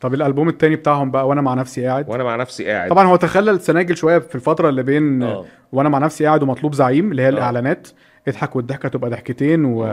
طب الالبوم التاني بتاعهم بقى وانا مع نفسي قاعد وانا مع نفسي قاعد طبعا هو تخلل سناجل شويه في الفتره اللي بين آه. وانا مع نفسي قاعد ومطلوب زعيم اللي هي آه. الاعلانات اضحك والضحكه تبقى ضحكتين و...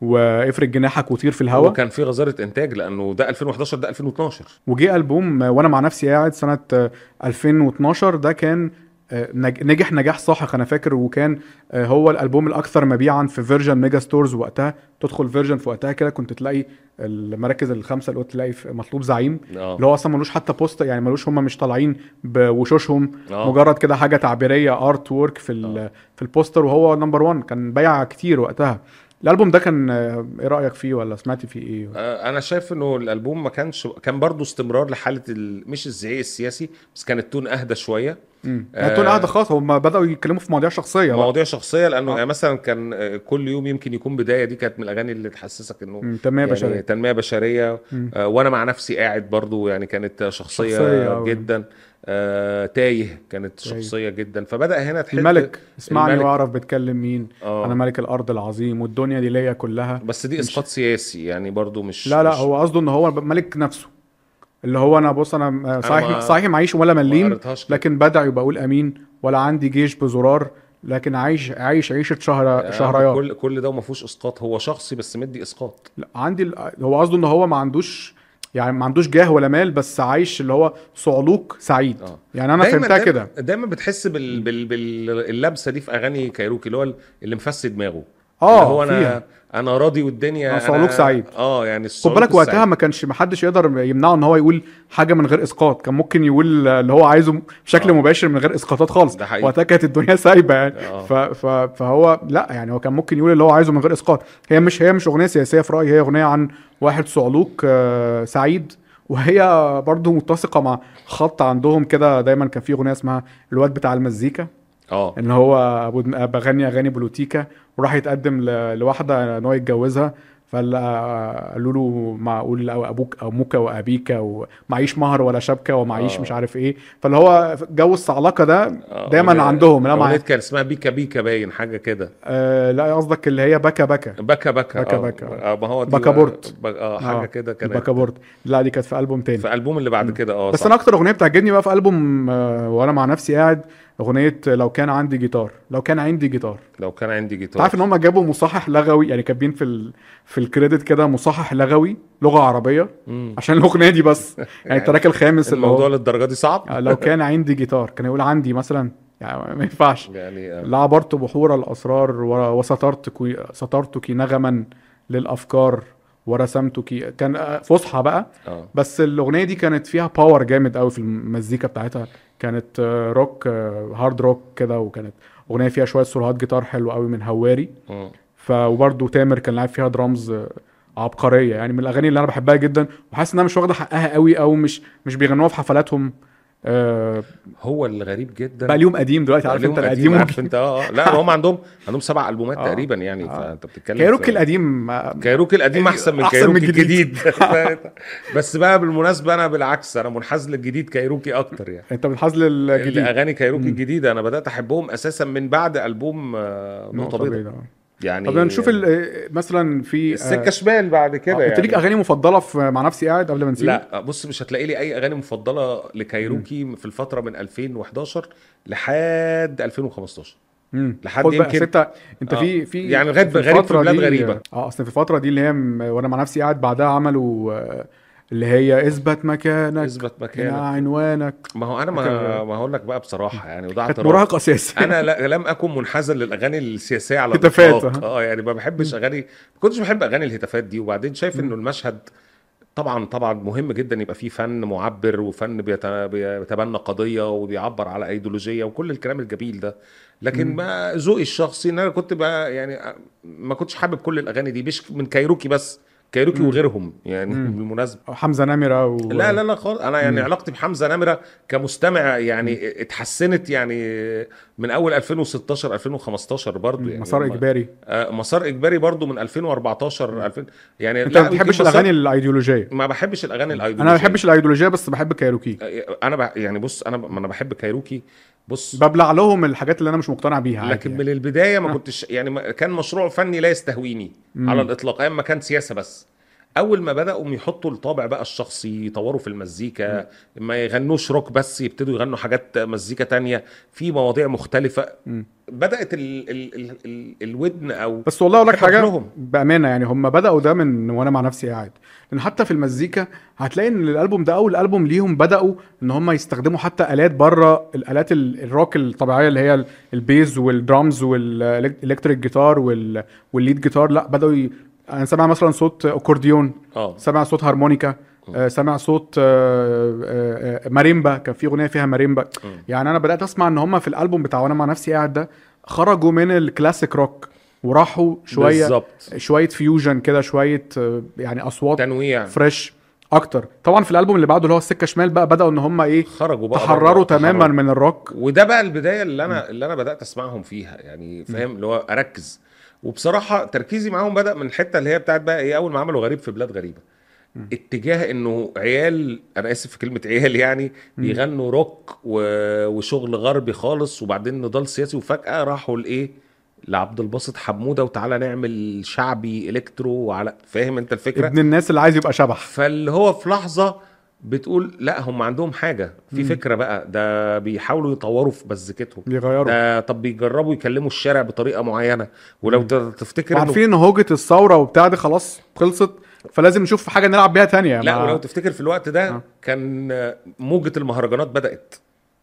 وافرد جناحك وطير في الهواء وكان في غزاره انتاج لانه ده 2011 ده 2012 وجي البوم آه، وانا مع نفسي قاعد سنه آه، 2012 ده كان آه، نج- نجح نجاح ساحق انا فاكر وكان آه، هو الالبوم الاكثر مبيعا في فيرجن ميجا ستورز وقتها تدخل فيرجن في وقتها كده كنت تلاقي المراكز الخمسه اللي قلت تلاقي في مطلوب زعيم اه اللي هو اصلا ملوش حتى بوست يعني ملوش هم مش طالعين بوشوشهم آه. مجرد كده حاجه تعبيريه ارت وورك في ال- في البوستر وهو نمبر 1 كان بايع كتير وقتها الالبوم ده كان آه، ايه رايك فيه ولا سمعت فيه ايه آه، انا شايف انه الالبوم ما كانش كان برضه استمرار لحاله ال... مش الزعيق السياسي بس كان التون اهدى شويه امم آه. تقول قاعده خلاص هم بداوا يتكلموا في مواضيع شخصيه بقى. مواضيع شخصيه لانه آه. يعني مثلا كان آه، كل يوم يمكن يكون بدايه دي كانت من الاغاني اللي تحسسك انه مم، تنميه يعني بشريه تنميه بشريه مم. آه، وانا مع نفسي قاعد برضو يعني كانت شخصيه, شخصية أوي. جدا آه، تايه كانت تايه. شخصيه جدا فبدا هنا تحس الملك اسمعني الملك. واعرف بتكلم مين آه. انا ملك الارض العظيم والدنيا دي ليا كلها بس دي اسقاط سياسي يعني برضو مش لا لا مش- هو قصده ان هو ملك نفسه اللي هو انا بص انا آه، صحيح ما- صحيح معيش ولا ما مليم قريتهاش كده. لكن بدع يبقى اقول امين ولا عندي جيش بزرار لكن عايش عايش عيشه شهر آه، شهريار كل كل ده وما فيهوش اسقاط هو شخصي بس مدي اسقاط لا، عندي ال- هو قصده ان هو ما عندوش يعني ما عندوش جاه ولا مال بس عايش اللي هو صعلوك سعيد آه. يعني انا دايماً- فهمتها دايماً- كده دايما بتحس بال بال باللبسه دي في اغاني كايروكي اللي هو اللي مفسد دماغه اه اللي هو انا فيها. انا راضي والدنيا أنا صعلوك سعيد. اه يعني خد الصعلوك بالك وقتها السعيد. ما كانش ما حدش يقدر يمنعه ان هو يقول حاجه من غير اسقاط كان ممكن يقول اللي هو عايزه بشكل آه. مباشر من غير اسقاطات خالص ده حقيقي. وقتها كانت الدنيا سايبه يعني آه. ف... ف... فهو لا يعني هو كان ممكن يقول اللي هو عايزه من غير اسقاط هي مش هي مش اغنيه سياسيه في رايي هي اغنيه عن واحد صعلوك آه، سعيد وهي برضه متسقه مع خط عندهم كده دايما كان في اغنيه اسمها الواد بتاع المزيكا اه ان هو ابو دم- بغني اغاني بلوتيكا وراح يتقدم ل- لواحده ان هو يتجوزها فقال قالوا له معقول أو ابوك اموك وابيك ومعيش مهر ولا شبكه ومعيش آه. مش عارف ايه فاللي هو جو الصعلقه ده آه، دايما أغنية- عندهم، لا، مع- أغنية كان اسمها بيكا بيكا باين حاجه كده آه لا قصدك اللي هي بكا بكا بكا بكا بكا آه، بكا. آه، ما هو دي بكابورت. بقى- اه حاجه آه، كده كانت البكابورت لا دي كانت في البوم تاني في البوم اللي بعد كده اه بس صح. انا اكتر اغنيه بتعجبني بقى في البوم آه، وانا مع نفسي قاعد اغنيه لو كان عندي جيتار لو كان عندي جيتار لو كان عندي انت عارف جيتار ان هم جابوا مصحح لغوي يعني كاتبين في ال... في الكريدت كده مصحح لغوي لغه عربيه مم. عشان الاغنيه دي بس يعني التراك الخامس اللي الموضوع هو آه، للدرجه دي صعب لو كان عندي جيتار كان يقول عندي مثلا يعني ما ينفعش يعني آه، لعبرت بحور الاسرار ور- وسترتك سترتك نغما للافكار ورسمتك كان آه، فصحى بقى اه بس الاغنيه دي كانت فيها باور جامد قوي في المزيكا بتاعتها كانت آه، روك آه، هارد روك كده وكانت اغنيه فيها شويه سولوهات جيتار حلو قوي من هواري مم. ف وبرده تامر كان لاعب فيها درامز آه، عبقريه يعني من الاغاني اللي انا بحبها جدا وحاسس انها مش واخده حقها قوي او مش مش بيغنوها في حفلاتهم آه، هو اللي غريب جدا بقى ليهم قديم دلوقتي عارف الألبوم انت القديم عارف والجديد. انت اه آه. لا هم عندهم عندهم سبع البومات آه. تقريبا يعني آه. فانت بتتكلم في- كايروكي القديم آه، كايروكي القديم احسن من أحسن من كايروكي الجديد بس بقى بالمناسبه انا بالعكس انا منحاز للجديد كايروكي اكتر يعني انت بتحاز للجديد الاغاني كايروكي مم. الجديده انا بدات احبهم اساسا من بعد البوم آه، نقطه بيضاء بعيدة. يعني طب نشوف ال- آه، مثلا في آه، السكه شمال بعد كده كده انت ليك يعني اغاني مفضله في مع نفسي قاعد قبل ما نسيب لا بص مش هتلاقي لي اي اغاني مفضله لكايروكي في الفتره من 2011 لحد 2015 مم. لحد خد بقى يمكن- ستة انت آه. في في يعني غريب- غريب في الفترة بلاد دي- غريبة. اه اصل في الفتره دي اللي هي م- وانا مع نفسي قاعد بعدها عملوا آه، اللي هي اثبت مكانك اثبت هنا مكانك عنوانك ما هو انا ما ما هقول لك بقى بصراحه يعني وده كانت اعتراف مراهق اساسي انا لا لم اكن منحازا للاغاني السياسيه على هتافات، الاطلاق اه يعني ما بحبش اغاني ما كنتش بحب اغاني الهتافات دي وبعدين شايف انه المشهد طبعا طبعا مهم جدا يبقى فيه فن معبر وفن بيت- بيتبنى قضيه وبيعبر على ايديولوجيه وكل الكلام الجميل ده لكن ما ذوقي الشخصي ان انا كنت بقى يعني ما كنتش حابب كل الاغاني دي مش من كايروكي بس كايروكي وغيرهم يعني مم. بالمناسبه حمزه نمره و... لا لا لا خالص انا يعني مم. علاقتي بحمزه نمره كمستمع يعني اتحسنت يعني من اول 2016 2015 برضو مم. يعني مسار لما- اجباري آه، مسار اجباري برضو من 2014 2000 يعني انت ما يمكن بتحبش مسار- الاغاني الايديولوجيه ما بحبش الاغاني الايديولوجيه انا ما بحبش الايديولوجيه بس بحب كايروكي آه، انا بح- يعني بص انا ب- ما انا بحب كايروكي بص ببلع لهم الحاجات اللي انا مش مقتنع بيها عادي لكن يعني. من البدايه ما آه. كنتش يعني ما- كان مشروع فني لا يستهويني مم. على الاطلاق ايام ما كان سياسه بس اول ما بداوا يحطوا الطابع بقى الشخصي يطوروا في المزيكا ما يغنوش روك بس يبتدوا يغنوا حاجات مزيكا تانية في مواضيع مختلفه مم. بدات ال ال ال ال الودن او بس والله اقول لك حتى حاجه شغلهم. بامانه يعني هم بداوا ده من وانا مع نفسي قاعد لان حتى في المزيكا هتلاقي ان الالبوم ده اول البوم ليهم بداوا ان هم يستخدموا حتى الات بره الالات ال- الروك الطبيعيه اللي هي ال- البيز والدرامز والالكتريك جيتار وال- والليد جيتار لا بداوا ي... انا سامع مثلا صوت اكورديون اه سمع صوت هارمونيكا آه، سمع صوت آه، آه، آه، ماريمبا كان في اغنيه فيها ماريمبا يعني انا بدات اسمع ان هم في الالبوم بتاع وانا مع نفسي قاعد ده خرجوا من الكلاسيك روك وراحوا شويه بالظبط شويه فيوجن كده شويه آه، يعني اصوات تنويع فريش اكتر طبعا في الالبوم اللي بعده اللي هو السكه شمال بقى بداوا ان هم ايه خرجوا بقى تحرروا بره. تماما تحرروا. من الروك وده بقى البدايه اللي انا اللي انا بدات اسمعهم فيها يعني فاهم اللي هو اركز وبصراحه تركيزي معاهم بدا من الحته اللي هي بتاعت بقى ايه اول ما عملوا غريب في بلاد غريبه اتجاه انه عيال انا اسف في كلمه عيال يعني بيغنوا روك و... وشغل غربي خالص وبعدين نضال سياسي وفجاه راحوا لايه لعبد الباسط حموده وتعالى نعمل شعبي الكترو وعلى فاهم انت الفكره ابن الناس اللي عايز يبقى شبح فاللي هو في لحظه بتقول لا هم عندهم حاجه في فكره بقى ده بيحاولوا يطوروا في مزيكتهم بيغيروا ده طب بيجربوا يكلموا الشارع بطريقه معينه ولو ده تفتكر عارفين ان هوجه الثوره وبتاع دي خلاص خلصت فلازم نشوف حاجه نلعب بيها تانية لا ما- ولو تفتكر في الوقت ده آه. كان موجه المهرجانات بدات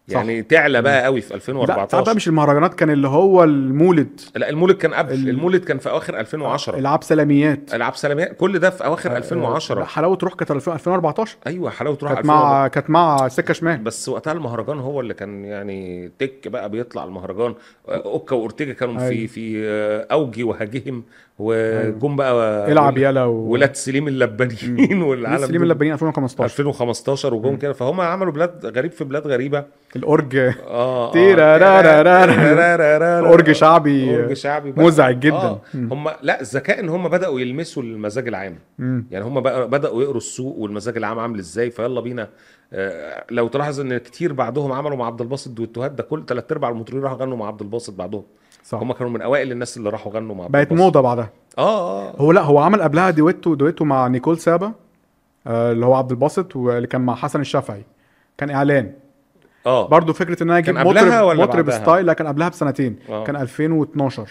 يعني تعلى بقى قوي في لا ساعات بقى 2014 مش المهرجانات كان اللي هو المولد لا المولد كان قبل ال- المولد كان في اواخر 2010 العاب سلاميات العاب سلاميات كل ده في اواخر لا، 2010 حلاوه روح كانت 2014 ايوه حلاوه روح آه، كانت 2014. مع كانت مع سكه شمال بس وقتها المهرجان هو اللي كان يعني تك بقى بيطلع المهرجان اوكا واورتيجا كانوا في أيوة. في اوجي وهجهم وجم بقى العب يلا و... ولاد سليم اللبانيين والعالم سليم دول. اللبانيين 2015 2015 وجم كده فهم عملوا بلاد غريب في بلاد غريبه الاورج اه تيرارارارارا. اورج اورج شعبي اورج شعبي بقى. مزعج جدا آه. مم. هم لا الذكاء ان هم بداوا يلمسوا المزاج العام مم. يعني هم بقى بداوا يقروا السوق والمزاج العام عامل ازاي فيلا بينا آه، لو تلاحظ ان كتير بعدهم عملوا مع عبد الباسط دويتوهات ده كل ثلاث ارباع المطربين راحوا غنوا مع عبد الباسط بعدهم صح هم كانوا من اوائل الناس اللي راحوا غنوا مع عبد بقت الباسط موضه بعدها اه اه هو لا هو عمل قبلها دويتو دويتو مع نيكول سابا آه، اللي هو عبد الباسط واللي كان مع حسن الشافعي كان اعلان اه برضه فكره ان انا اجيب كان قبلها مطرب ولا مطرب بعدها؟ ستايل لا كان قبلها بسنتين آه. كان 2012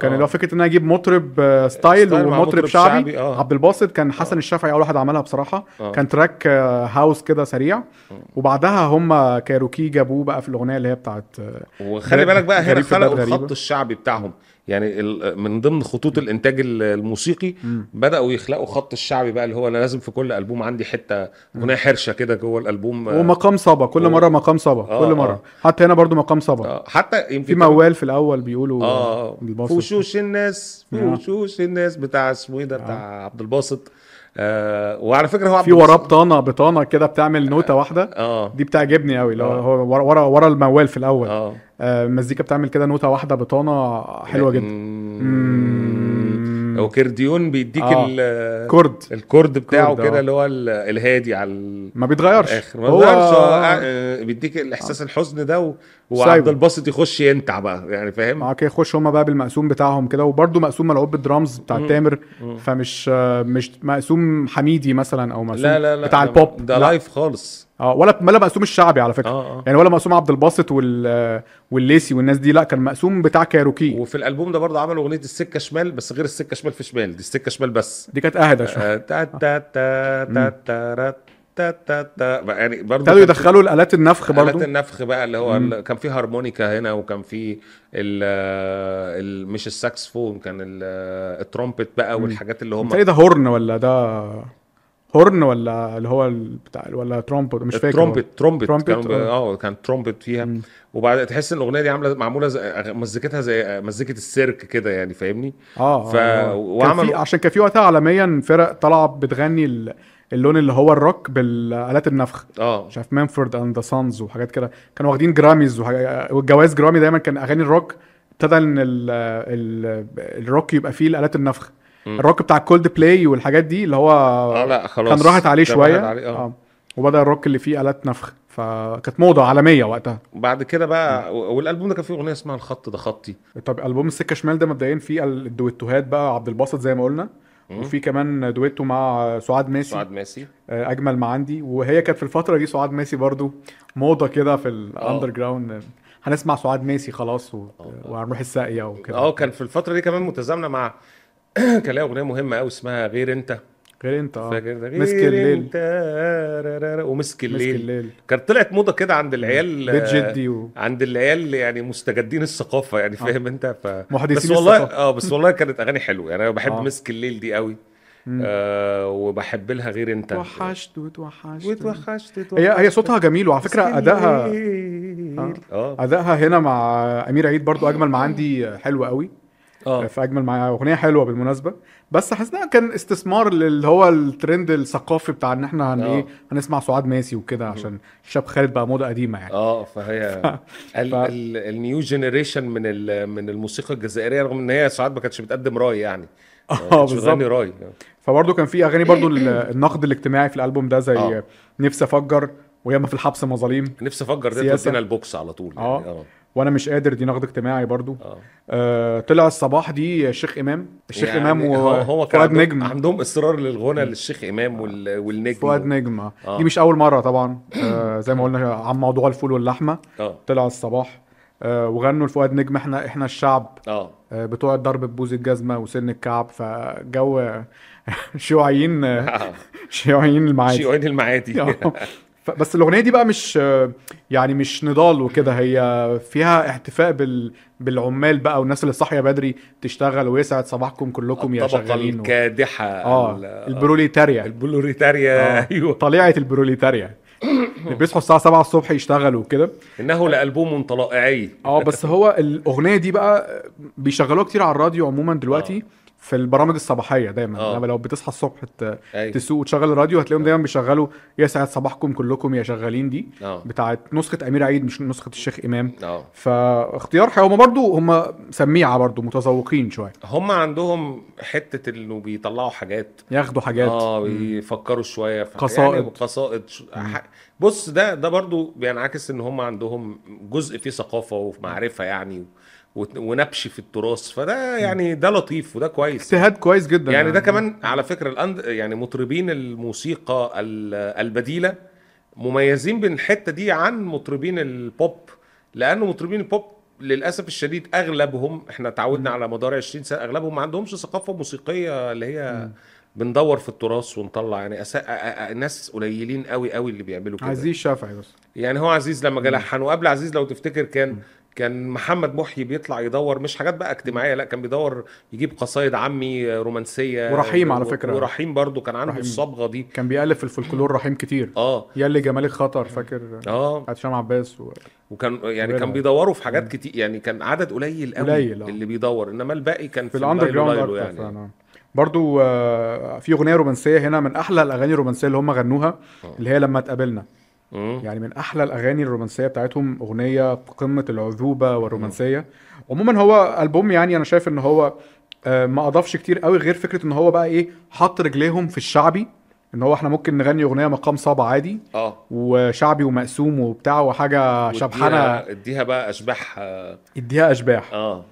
كان آه. اللي هو فكره ان انا اجيب مطرب آه، ستايل ستايل مع ومطرب مطرب شعبي, شعبي، آه. عبد الباسط كان حسن الشافعي اول واحد عملها بصراحه آه. كان تراك آه، هاوس كده سريع وبعدها هم كايروكي جابوه بقى في الاغنيه اللي هي بتاعت آه، وخلي غريب- بالك بقى هنا غريب في بلاد خلقوا غريبة. الخط الشعبي بتاعهم يعني ال- من ضمن خطوط الانتاج ال- الموسيقي بداوا يخلقوا خط الشعبي بقى اللي هو انا لازم في كل البوم عندي حته اغنيه حرشه كده جوه الالبوم آه، ومقام صبا كل هو- مره مقام صبا آه، كل آه. مره حتى هنا برضو مقام صبا آه، حتى يمكن في موال في الاول بيقولوا اه عبد الباسط وشوش الناس آه. وشوش الناس بتاع اسمه ايه ده بتاع عبد الباسط آه وعلى فكره هو عبد نعم. في وراه الباسط- بطانه بطانه كده بتعمل نوته واحده اه دي بتعجبني قوي اللي هو آه. هو ورا ورا ورا الموال في الاول اه آه، المزيكا بتعمل كده نوتة واحدة بطانة حلوة جدا مم. وكرديون بيديك آه. ال- كرد الكورد بتاعه كورد، آه. كده اللي هو ال- الهادي على ال- ما بيتغيرش الاخر ما بيعرفش، هو آه، بيديك الاحساس الحزن ده و- وعبد سايبه. آه. الباسط يخش ينتع بقى يعني فاهم معاك يخش هما بقى بالمقسوم بتاعهم كده وبرده مقسوم ملعوب بالدرامز بتاع تامر فمش آه، مش مقسوم حميدي مثلا او مقسوم لا لا لا بتاع ده- البوب ده لا. لايف خالص اه ولا ولا مقسوم الشعبي على فكرة اه اه يعني ولا مقسوم عبد الباسط وال آه، والليسي والناس دي لا كان مقسوم بتاع كايروكي وفي الالبوم ده برضه عملوا اغنيه السكه شمال بس غير السكه شمال في شمال دي السكه شمال بس دي كانت اهدى شوية آه، تا تا تا تا تا را تا تا تا بقى يعني برضه ابتدوا كان في يدخلوا الالات النفخ آلات برضو النفخ بقى اللي هو ال- كان في هارمونيكا هنا وكان في ال ال- مش الساكسفون كان ال- آه، الترومبت بقى والحاجات اللي هم بتهيألي ده هورن ولا ده هورن ولا اللي هو ال- بتاع ولا ترومبوت مش فاكر والله. الترومبت ترومبت ترومبت، كانوا ب- آه. اه كان ترومبت فيها وبعد تحس ان الاغنيه دي عامله معموله زي أغ- مزيكتها زي مزيكه السيرك كده يعني فاهمني اه ف... ف- وعملوا- وعملوا عشان كان في وقتها عالميا فرق طالعه بتغني ال- اللون اللي هو الروك بالالات النفخ اه مش عارف مانفورد اند ذا سانز وحاجات كده كانوا واخدين جراميز وحاجة... والجوائز جرامي دايما كان اغاني الروك ابتدى ان ال... ال... الروك يبقى فيه الالات النفخ مم. الروك بتاع كولد بلاي والحاجات دي اللي هو اه لا خلاص كان راحت عليه ده شويه راحت عليه، آه. وبدا الروك اللي فيه الات نفخ فكانت موضه عالميه وقتها بعد كده بقى و- والالبوم ده كان فيه اغنيه اسمها الخط ده خطي طب البوم السكه شمال ده مبدئيا فيه الدويتوهات بقى عبد الباسط زي ما قلنا وفي كمان دويتو مع سعاد ماسي سعاد ماسي آه، اجمل ما عندي وهي كانت في الفتره دي سعاد ماسي برضو موضه كده في آه. الاندر جراوند هنسمع سعاد ماسي خلاص و... وهنروح الساقيه وكده اه كان في الفتره دي كمان متزامنه مع كان لها اغنيه مهمه قوي اسمها غير انت غير انت اه فاكر ده مسك غير الليل. انت رارارا، ومسك مسك الليل الليل كانت طلعت موضه كده عند العيال بيت جدي و... عند العيال يعني مستجدين الثقافه يعني فاهم انت ف محدثين بس والله الثقافة. اه بس والله كانت اغاني حلوه يعني انا بحب آه. مسك الليل دي قوي آه وبحب لها غير انت توحشت وتوحشت واتوحشت هي هي صوتها جميل وعلى فكره ادائها اه اه, ادائها هنا مع امير عيد برضو اجمل ما عندي حلو قوي آه. في اجمل مع اغنيه حلوه بالمناسبه بس حاسس انها كان استثمار اللي هو الترند الثقافي بتاع ان احنا هن آه. ايه هنسمع سعاد ماسي وكده عشان شاب خالد بقى موضه قديمه يعني آه فهي ال- ال- النيو جينيريشن من ال- من الموسيقى الجزائريه رغم ان هي ساعات ما كانتش بتقدم راي يعني اه بتغني بالظبط راي فبرضه كان في اغاني برضه ال- النقد الاجتماعي في الالبوم ده زي آه. نفسي افجر وياما في الحبس مظاليم نفسي افجر ده سياسة. تودينا البوكس على طول يعني آه. وانا مش قادر دي نقد اجتماعي برضه اه آه طلع الصباح دي الشيخ امام الشيخ يعني امام هو هو كان وفؤاد عندهم- نجم آه. عندهم اصرار للغنى للشيخ امام وال- والنجم فؤاد نجم آه. آه. دي مش اول مره طبعا آه زي ما قلنا عن موضوع الفول واللحمه اه طلع الصباح آه وغنوا لفؤاد نجم احنا احنا الشعب اه آه بتوع الضرب ببوز الجزمه وسن الكعب فجو شيوعيين آه، شيوعيين المعادي شيوعين المعادي آه. ف- بس الاغنيه دي بقى مش آه، يعني مش نضال وكده هي فيها احتفاء بال... بالعمال بقى والناس اللي صاحيه بدري تشتغل ويسعد صباحكم كلكم يا الطبقه شغالين و... الكادحه اه ال- البروليتاريا البلوريتاريا آه. ايوه طليعه البروليتاريا اللي بيصحوا الساعه 7 الصبح يشتغلوا كده انه لالبوم طلائعي اه بس هو الاغنيه دي بقى بيشغلوها كتير على الراديو عموما اه. دلوقتي في البرامج الصباحيه دايما آه. لما لو بتصحى الصبح ت- ايوه تسوق وتشغل الراديو هتلاقيهم دايما بيشغلوا يا سعد صباحكم كلكم يا شغالين دي اه بتاعت نسخه امير عيد مش نسخه الشيخ امام اه فاختيار حلو هم برضو هم سميعه برضو متذوقين شويه هم عندهم حته انه بيطلعوا حاجات ياخدوا حاجات اه بيفكروا شويه في قصائد. يعني قصائد ش... ح... بص ده ده برضو بينعكس ان هم عندهم جزء فيه ثقافه ومعرفه يعني و... ونبش في التراث فده يعني ده لطيف وده كويس اجتهاد كويس جدا يعني ده كمان على فكره الأند... يعني مطربين الموسيقى ال- البديله مميزين بالحته دي عن مطربين البوب لان مطربين البوب للاسف الشديد اغلبهم احنا تعودنا على مدار 20 سنه اغلبهم ما عندهمش ثقافه موسيقيه اللي هي بندور في التراث ونطلع يعني أس... أ... أ... أ... ناس قليلين قوي قوي اللي بيعملوا كده عزيز شافعي بس يعني هو عزيز لما جه لحن وقبل عزيز لو تفتكر كان كان محمد محيي بيطلع يدور مش حاجات بقى اجتماعيه لا كان بيدور يجيب قصايد عمي رومانسيه ورحيم و- على و- فكرة. ورحيم برضو كان عنده رحيم. الصبغه دي كان بيألف في الفولكلور رحيم كتير اه يلي جمال الخطر فاكر اه بتاعت هشام عباس و... وكان يعني غيرها. كان بيدوروا في حاجات كتير يعني كان عدد قليل قوي قليل، آه. اللي بيدور انما الباقي كان في الاندر الليل جراوند وليله اكتر يعني. فعلا برضو آه، في اغنيه رومانسيه هنا من احلى الاغاني الرومانسيه اللي هم غنوها آه. اللي هي لما اتقابلنا مم. يعني من احلى الاغاني الرومانسيه بتاعتهم اغنيه قمه العذوبه والرومانسيه عموما هو البوم يعني انا شايف ان هو آه، ما اضافش كتير قوي غير فكره ان هو بقى ايه حط رجليهم في الشعبي ان هو احنا ممكن نغني اغنيه مقام صعبة عادي اه وشعبي ومقسوم وبتاع وحاجه شبحانه واديها- اديها بقى اشباح اه اديها اشباح آه.